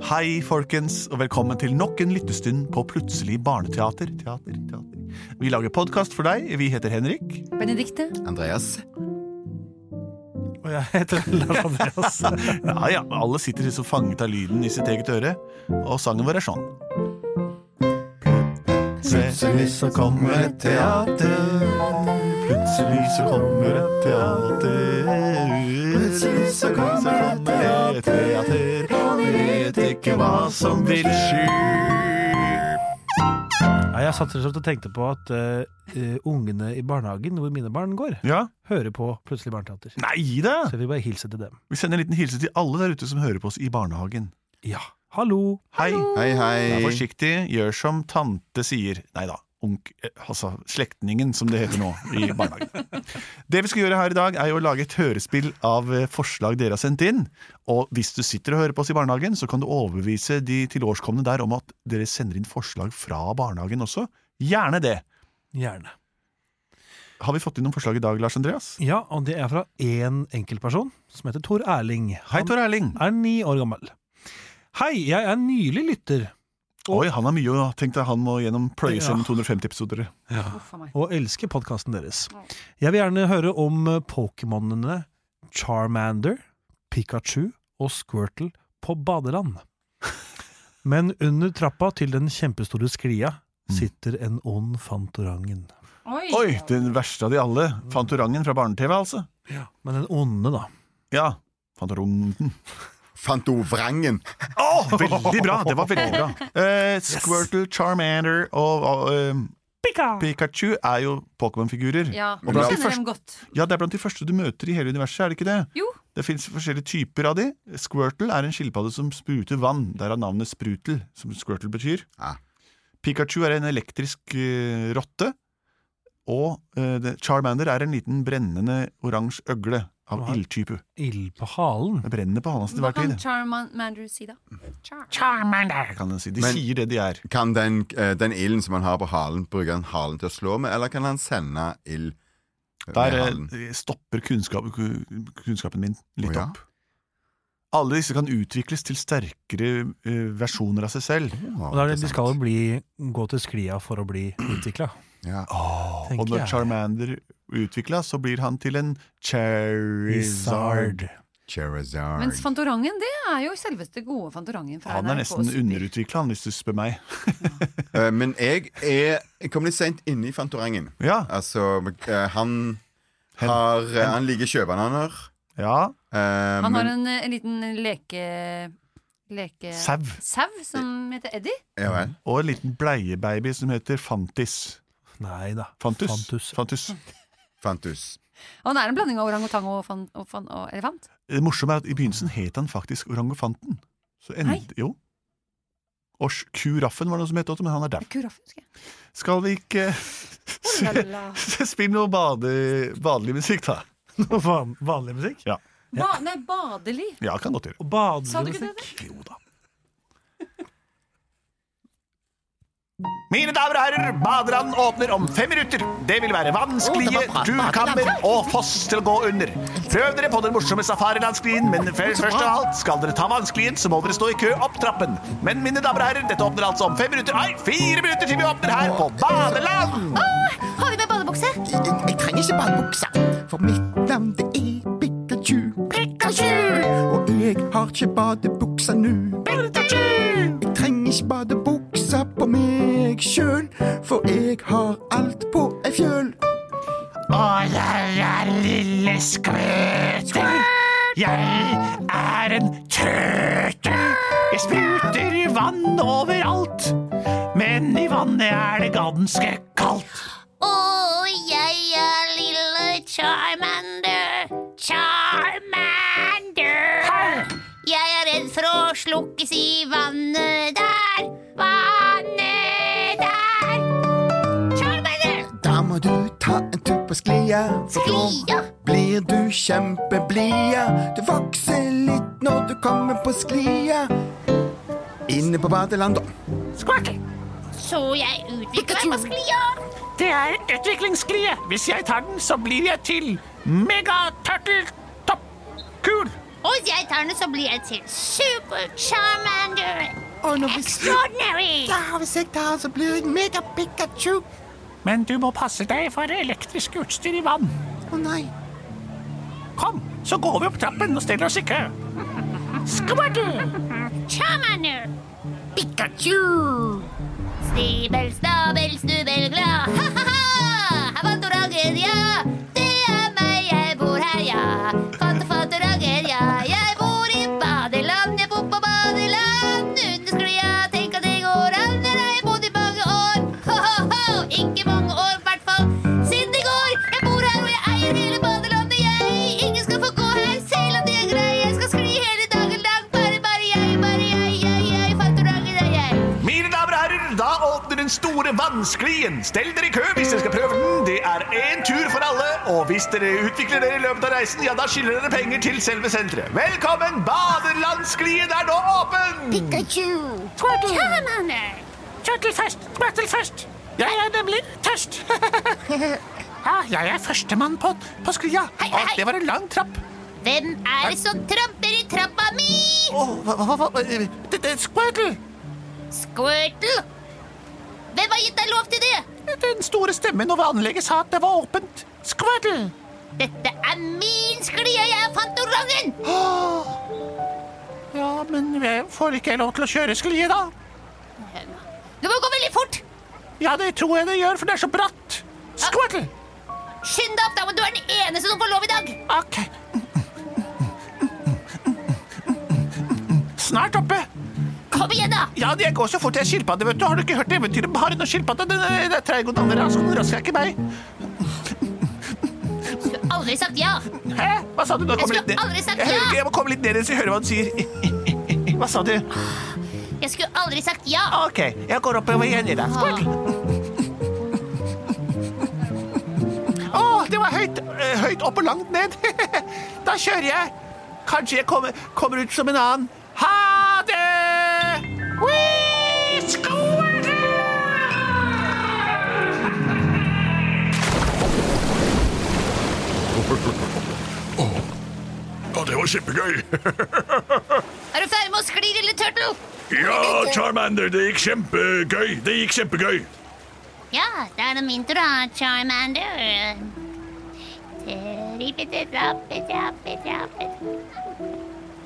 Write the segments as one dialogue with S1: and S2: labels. S1: Hei, folkens, og velkommen til nok en lyttestund på Plutselig barneteater. Teater, teater. Vi lager podkast for deg. Vi heter Henrik.
S2: Benedikte.
S3: Andreas.
S4: Og jeg heter Lars Andreas.
S1: Ja, ja, alle sitter liksom fanget av lyden i sitt eget øre, og sangen vår er sånn. Plutselig så kommer et teater. Plutselig så kommer et teater. Plutselig så kommer et teater. Og vi vet ikke hva som vil skje.
S4: Nei, jeg satt rett og slett og tenkte på at eh, ungene i barnehagen, hvor mine barn går,
S1: Ja,
S4: hører på Plutselig barneteater.
S1: nei gi det!
S4: Så jeg vil bare hilse til dem.
S1: Vi sender en liten hilsen til alle der ute som hører på oss i barnehagen.
S4: Ja. Hallo!
S1: Hei!
S3: Hei,
S1: Vær
S3: hei.
S1: forsiktig, gjør som tante sier. Nei da. Onk, eh, altså slektningen, som det heter nå i barnehagen. Det vi skal gjøre her i dag, er jo å lage et hørespill av eh, forslag dere har sendt inn. Og hvis du sitter og hører på oss i barnehagen, så kan du overbevise de tilårskomne der om at dere sender inn forslag fra barnehagen også. Gjerne det!
S4: Gjerne.
S1: Har vi fått inn noen forslag i dag, Lars Andreas?
S4: Ja, og det er fra én enkeltperson, som heter Tor Erling.
S1: Hei, Tor Erling.
S4: er ni år gammel. Hei, jeg er nylig lytter,
S1: Oi, han har mye å tenke. Han må gjennom pløye
S4: Ja.
S1: gjennom 250 episoder.
S2: Uff a meg.
S4: og elsker podkasten deres. Jeg vil gjerne høre om eh, pokémonene Charmander, Pikachu og Squirtle på badeland. Men under trappa til den kjempestore sklia
S1: Mm.
S4: sitter en ond Fantorangen.
S2: Oi!
S1: Oi, den verste av de alle. Fantorangen fra barne-TV, altså.
S4: Men den onde, da.
S1: Ja. Fantorangen.
S3: Fantovrangen.
S1: Å, veldig bra! Det var veldig bra. Eh, Squirtle, Charmander og, og eh, Pikachu er jo Pokémon-figurer.
S2: Ja,
S1: Og
S2: du
S1: blant de
S2: kjenner
S1: første-
S2: dem godt.
S1: Ja, Det er blant de første du møter i hele universet, er det ikke det?
S2: Jo.
S1: Det fins forskjellige typer av de. Squirtle er en skilpadde som spruter vann, derav navnet Sprutel, som Squirtle betyr.
S3: Ja.
S1: Pikachu er en elektrisk eh, rotte. Og eh, det, Charmander er en liten brennende oransje øgle av
S4: Hva?
S1: ildtype.
S4: Ild på halen.
S1: Det brenner på halen hans til
S2: Hva
S1: hver
S2: kan
S1: tid.
S2: Charmander si, da? Char.
S1: Charmander, kan den si. De
S3: Men-
S1: sier det de er.
S3: Kan den, eh, den ilden som han har på halen, bruke han halen til å slå med, eller kan han sende ild med
S1: Der eh,
S3: halen?
S1: stopper kunnskap, ku- kunnskapen min litt
S3: Å, ja?
S1: opp. Alle disse kan utvikles til sterkere eh, versjoner av seg selv.
S4: Og da er det, de skal jo bli, gå til sklia for å bli utvikla,
S3: ja.
S1: Ah. Og
S4: tenker
S1: når
S4: jeg.
S1: Charmander utvikla, så blir han til en Charizard.
S4: Lizard.
S3: Charizard.
S2: Mens Fantorangen, det er jo selveste gode Fantorangen fra
S1: Han er nesten
S2: Super.
S1: underutvikla, hvis du spør meg.
S3: Eh, men jeg er Jeg kom litt seint inne i Fantorangen.
S1: Ja,
S3: Altså, eh, han har eh, Han liker sjøbananer.
S1: ja.
S3: eh,
S2: Han har
S3: men-
S2: en, eh, en liten leke... leke...
S1: Sau.
S2: Sau som heter Eddie.
S3: Ja vel.
S1: Og en liten bleiebaby som heter Fantis.
S4: Nei da.
S1: Fantus.
S4: Fantus.
S1: Fantus.
S3: Fantus.
S2: Og han er en blanding av orangutang og, fan, og, fan, og elefant.
S1: Det morsomme er at i begynnelsen het han faktisk Orangofanten. Så end...
S2: Nei.
S1: Jo. Og Kuraffen var det noe som het også, men han er dau.
S2: Kuraff, husker jeg.
S1: Skal vi ikke
S2: Oh, la, la.
S1: Spill noe bade, badelig musikk, da.
S4: Van, vanlig musikk?
S2: Ba, nei, badelig.
S1: Ja, kan godt gjøre.
S4: Og
S2: Sa du
S4: badelig
S2: ikke det?
S4: musikk?
S1: Jo da. Mine damer og herrer, badeland åpner om fem minutter. Det vil være vanskelige turkammer og foss til å gå under. Prøv dere på den morsomme safarilandsklien, men før- først av alt skal dere ta vannsklien, så må dere stå i kø opp trappen. Men mine damer og herrer, dette åpner altså om fem minutter. Nei, fire minutter til vi åpner her på badeland!
S2: Har vi med badebukse?
S5: Jeg, jeg trenger ikke badebukse, for mitt navn det er Pikachu. Pikachu! Og jeg har ikke badebukse nå. Pikachu! Jeg trenger ikke badebukse på meg sjøl, for jeg har alt på ei fjøl.
S6: Å, jeg er lille skvøter. Jeg er en tøter. Jeg spruter vann overalt. Men i vannet er det ganske kaldt.
S7: Å, jeg er lille Charmander. Charmander! Jeg er redd for å slukkes i vannet der. Vannet der. Charmander!
S5: Da må du ta en tur på sklia, for da
S7: Sklia?
S5: blir du kjempeblia. Du vokser litt når du kommer på sklia. Inne på badeland, da.
S6: Squirtle,
S7: Så jeg utvikler meg på sklia.
S6: det er utviklingssklie. Hvis jeg tar den, så blir jeg til megaturtle-topp-kul.
S7: Og hvis jeg tar den, så blir jeg til Super Charmander
S5: Og når hvis,
S7: Extraordinary.
S5: ja, hvis jeg tar, så blir jeg mega Pikachu.
S6: Men du må passe deg for elektrisk utstyr i vann.
S5: Å nei.
S6: Kom, så går vi opp trappen og stiller oss i kø.
S7: Squirtle. Charmander. Pikachu. Stibel, stabel, snubel, glad. Ha-ha-ha! Fantoragen, ja. Det er meg, jeg bor her, ja. Fant- Fantoragen, ja. Jeg bor i badeland, jeg bor på badeland. Under sklia, tenk at det går an. Jeg har bodd i mange år. Ho-ho-ho! Ikke mange år, i hvert fall siden i går. Jeg bor her, og jeg eier hele badelandet, jeg. Ingen skal få gå her, selv om de er greie. Jeg skal skli hele dagen lang. Bare, bare jeg, bare jeg, jeg, jeg. Fantoragen er jeg.
S6: Mine damer og herrer, da åpner den store vannsklien. Stell dere i kø hvis dere skal prøve den. Det er én tur for alle, og hvis dere utvikler dere i løpet av reisen, ja, da skylder dere penger til selve senteret. Velkommen! Badelandsklien er nå åpen!
S7: Pikachu. Charmander.
S8: Turtle først! Turtle først! Jeg er nemlig tørst! ja, jeg er førstemann på, på sklia.
S7: Hei,
S8: Å,
S7: hei.
S8: Det var en lang trapp.
S7: Hvem er det som tramper i trappa mi?
S8: Åh, hva, hva, hva, hva, eh, det, det er Squirtle!
S7: Squirtle. Hvem har gitt deg lov til det?
S8: Den store stemmen over anlegget sa at det var åpent. Squirtle!
S7: Dette er min sklie, jeg er Fantorangen!
S8: Ja, men jeg får ikke jeg lov til å kjøre sklie, da?
S7: Du må gå veldig fort!
S8: Ja, det tror jeg det gjør, for det er så bratt. Squirtle!
S7: Skynd deg opp, da, men du er den eneste som får lov i dag!
S8: Ok. Snart oppe.
S7: Kom igjen, da!
S8: Ja, jeg går så fort jeg er skilpadde, vet du. Har du ikke hørt eventyret om haren og skilpadda? Den er, den er treig og danner rask, den rasker ikke meg.
S7: Skulle aldri sagt ja.
S8: Hæ? Hva sa du? Nå kommer
S7: skulle
S8: litt ned.
S7: aldri sagt
S8: jeg hører
S7: ja.
S8: ikke, jeg må komme litt ned så jeg hører hva han sier. Hva sa du?
S7: Jeg skulle aldri sagt ja.
S8: Ok, jeg går oppover igjen i deg. Squirtle. Å, det var høyt, eh, høyt opp og langt ned. da kjører jeg. Kanskje jeg kommer, kommer ut som en annen. Ha det! Whee!
S9: Ja, det var kjempegøy.
S7: Er du ferdig med å skli, lille turtle?
S9: Ja, Charmander, det gikk kjempegøy. Det gikk kjempegøy.
S7: Ja, da er det min tur, da, Charmander.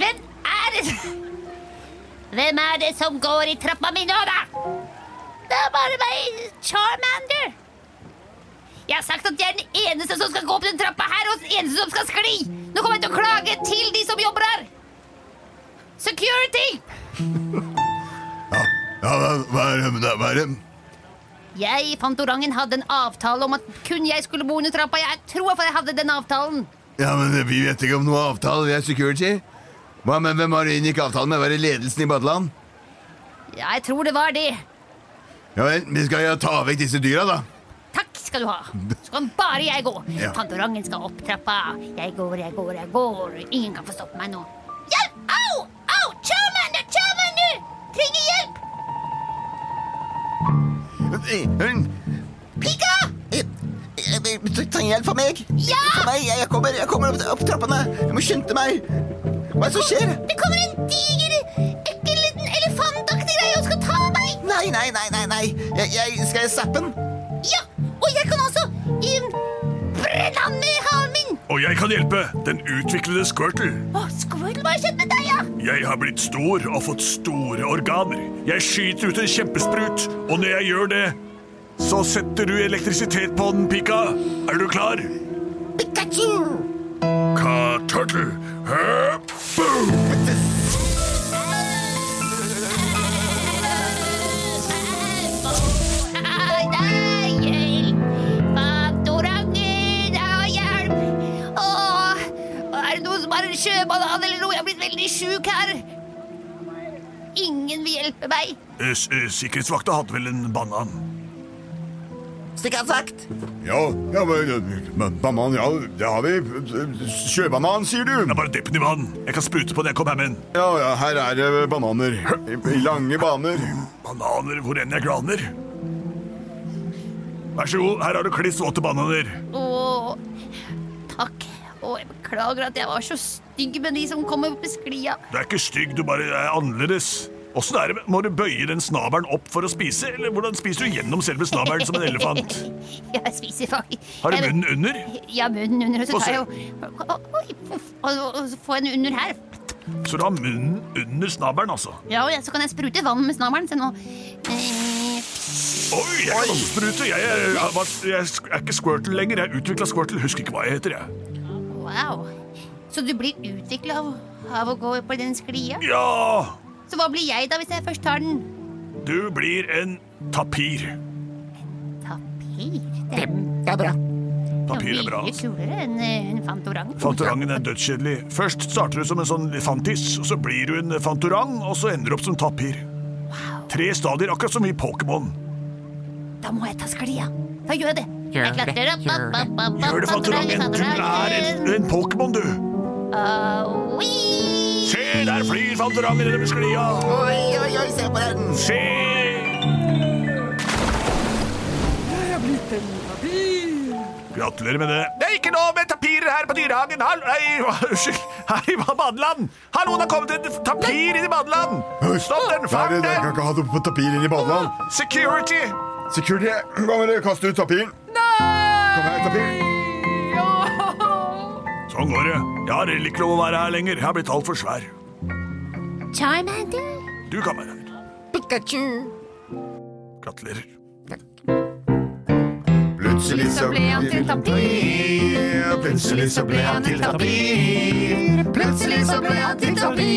S7: Hvem er det Hvem er det som går i trappa mi nå, da? Det er bare meg, Charmander. Jeg har sagt at jeg er den eneste som skal gå opp den trappa her, og den eneste som skal skli. Nå kommer jeg til å klage til de som jobber her. Security!
S3: Ja, hva, hva er det med det? Hva er det?
S7: Jeg, Fantorangen, hadde en avtale om at kun jeg skulle bo under trappa. Jeg tror for jeg hadde den avtalen.
S3: Ja, men vi vet ikke om noe avtale. Vi er security. Hva, men hvem var det inngikk avtalen med? Var det ledelsen i badeland?
S7: Ja, jeg tror det var det.
S3: Ja vel, vi skal jo ta vekk disse dyra, da.
S7: Takk skal du ha. Så kan bare jeg gå.
S3: Ja.
S7: Fantorangen skal opp trappa. Jeg går, jeg går, jeg går. Ingen kan få stoppe meg nå. Hjelp! Au! Au! Charmander! Charmander! Trenger hjelp!
S3: Eh, Hun
S7: Pika!
S5: Du Eh, trenger hjelp fra meg?
S7: Ja!
S5: Fra meg. Jeg jeg kommer, jeg kommer opp, opp trappene. Jeg må skynde meg. Hva er det som skjer?
S7: Det kommer en diger, ekkel liten elefantaktig greie og skal ta meg.
S5: Nei, nei, nei, nei. nei. Jeg, jeg, skal jeg zappe den?
S7: Ja, og jeg kan også um, brenne han med halen min.
S9: Og jeg kan hjelpe. Den utviklede Squirtle.
S7: Å, Squirtle, hva har skjedd med deg, ja?
S9: Jeg har blitt stor og fått store organer. Jeg skyter ut en kjempesprut, og når jeg gjør det, så setter du elektrisitet på den, Pika. Er du klar?
S5: Pikachu!
S9: Ka-turtle. Hø, Boom!
S7: Sjøbanan eller noe. Jeg har blitt veldig sjuk her. Ingen vil hjelpe meg.
S9: Eh, s- eh, Sikkerhetsvakta hadde vel en banan.
S5: Slik han sagt.
S3: Ja, ja men, men banan, ja, det har vi. Sjøbanan, sier du?
S9: Ja, bare dypp den i vann. Jeg kan sprute på den jeg kommer hjem igjen.
S3: Ja, ja, her er det bananer. I, i lange baner.
S9: Bananer hvor enn jeg glaner. Vær så god, her har du kliss våte bananer.
S7: Åh, takk.
S2: Å, jeg beklager at jeg var så stygg med de som kommer opp i sklia.
S9: Du er ikke stygg, du bare er annerledes. Åssen er det, med- Må du bøye den snabelen opp for å spise, eller hvordan spiser du gjennom selve snabelen som en elefant?
S7: Jeg spiser faktisk
S9: Har du
S7: Jeg-
S9: munnen under?
S7: Ja, munnen under, og så
S9: Og
S7: tar
S9: så-
S7: jeg jo Oi, uff, og, og, og så får jeg den under her.
S9: Så du har munnen under snabelen, altså?
S7: Ja, og jeg- så kan jeg sprute vann med snabelen. Se nå. Eh,
S9: Oi, jeg kan også sprute! Jeg er, jeg, var- jeg er ikke squirtle lenger. Jeg utvikla squirtle, husker ikke hva jeg heter. jeg.
S7: Wow. Så du blir utvikla av, av å gå på den sklia?
S9: Ja,
S7: Så hva blir jeg da, hvis jeg først tar den?
S9: du blir en tapir.
S7: Tapir. Det er
S5: Det er bra.
S9: Tapir er bra.
S7: mye
S9: altså.
S7: kulere enn eh, en fantorang.
S9: Fantorangen er dødskjedelig. Først starter du som en sånn fantis, og så blir du en fantorang, og så ender du opp som tapir. Tre stadier, akkurat som i Pokémon.
S7: Da må jeg ta sklia. Da gjør jeg det.
S5: Gjør
S7: Jeg klatrer opp,
S5: det,
S7: opp, opp, opp,
S9: Gjør det,
S7: opp,
S9: Fantorangen! Du er en, en Pokémon, du!
S7: Ah, oui.
S9: Se, der flyr Fantorangen nedover sklia!
S5: Oi, oi, oi, se på den!
S9: Se! Gratulerer med det.
S6: Det er ikke lov med tapirer her på dyrehagen. Hall nei, hva- unnskyld. Her i badeland. Hallo, det har kommet en tapir inn i badeland. Stopp den,
S3: Nei,
S6: fang
S3: det- jeg kan
S6: den.
S3: ikke ha det på tapir inn i badeland.
S6: Security.
S3: Security, hva med det? Kast ut tapiren. Nei! Kom her, tapir.
S9: Sånn går det. Jeg har heller ikke lov å være her lenger. Jeg har blitt altfor svær.
S7: Charmander.
S9: Du kan være her.
S5: Pikachu!
S9: Gratulerer.
S3: Plutselig
S2: Så ble han til en
S3: tapir. Plutselig så ble han til tapir. Plutselig så ble han til
S2: Então,
S3: tapir.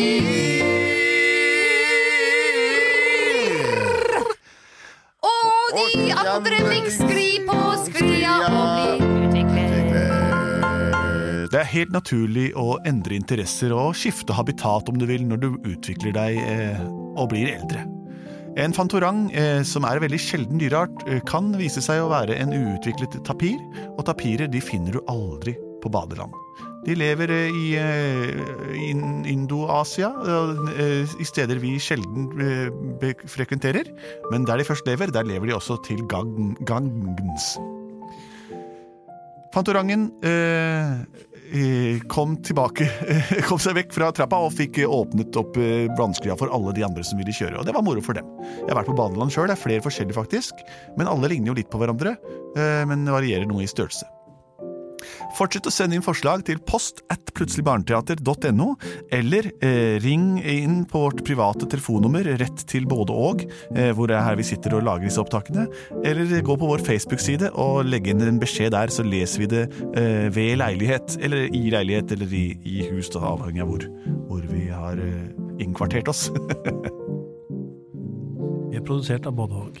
S2: Og de
S3: Og de
S2: andre
S3: andre
S2: fikk skli på sklia
S3: sklia.
S2: og bli utviklet.
S1: Eh, Det er helt naturlig å endre interesser og skifte habitat om du vil når du utvikler deg eh, og blir eldre. En fantorang, eh, som er en veldig sjelden dyreart, eh, kan vise seg å være en uutviklet tapir, og tapirer de finner du aldri på badeland. De lever eh, i eh, in Indo-Asia, eh, i steder vi sjelden eh, be- frekventerer, men der de først lever, der lever de også til gagn- gagns. Fantorangen eh, eh, kom tilbake, kom seg vekk fra trappa og fikk eh, åpnet opp eh, brannsklia for alle de andre som ville kjøre. Og det var moro for dem. Jeg har vært på badeland sjøl, det er flere forskjellige faktisk. Men alle ligner jo litt på hverandre, eh, men varierer noe i størrelse. Fortsett å sende inn forslag til post at plutseligbarneteater.no, eller eh, ring inn på vårt private telefonnummer rett til både og, eh, hvor det er her vi sitter og lager disse opptakene, eller gå på vår Facebook-side og legge inn en beskjed der, så leser vi det eh, ved leilighet, eller i leilighet, eller i, i hus, da, avhengig av hvor, hvor vi har eh, innkvartert oss.
S4: Vi er produsert av både og.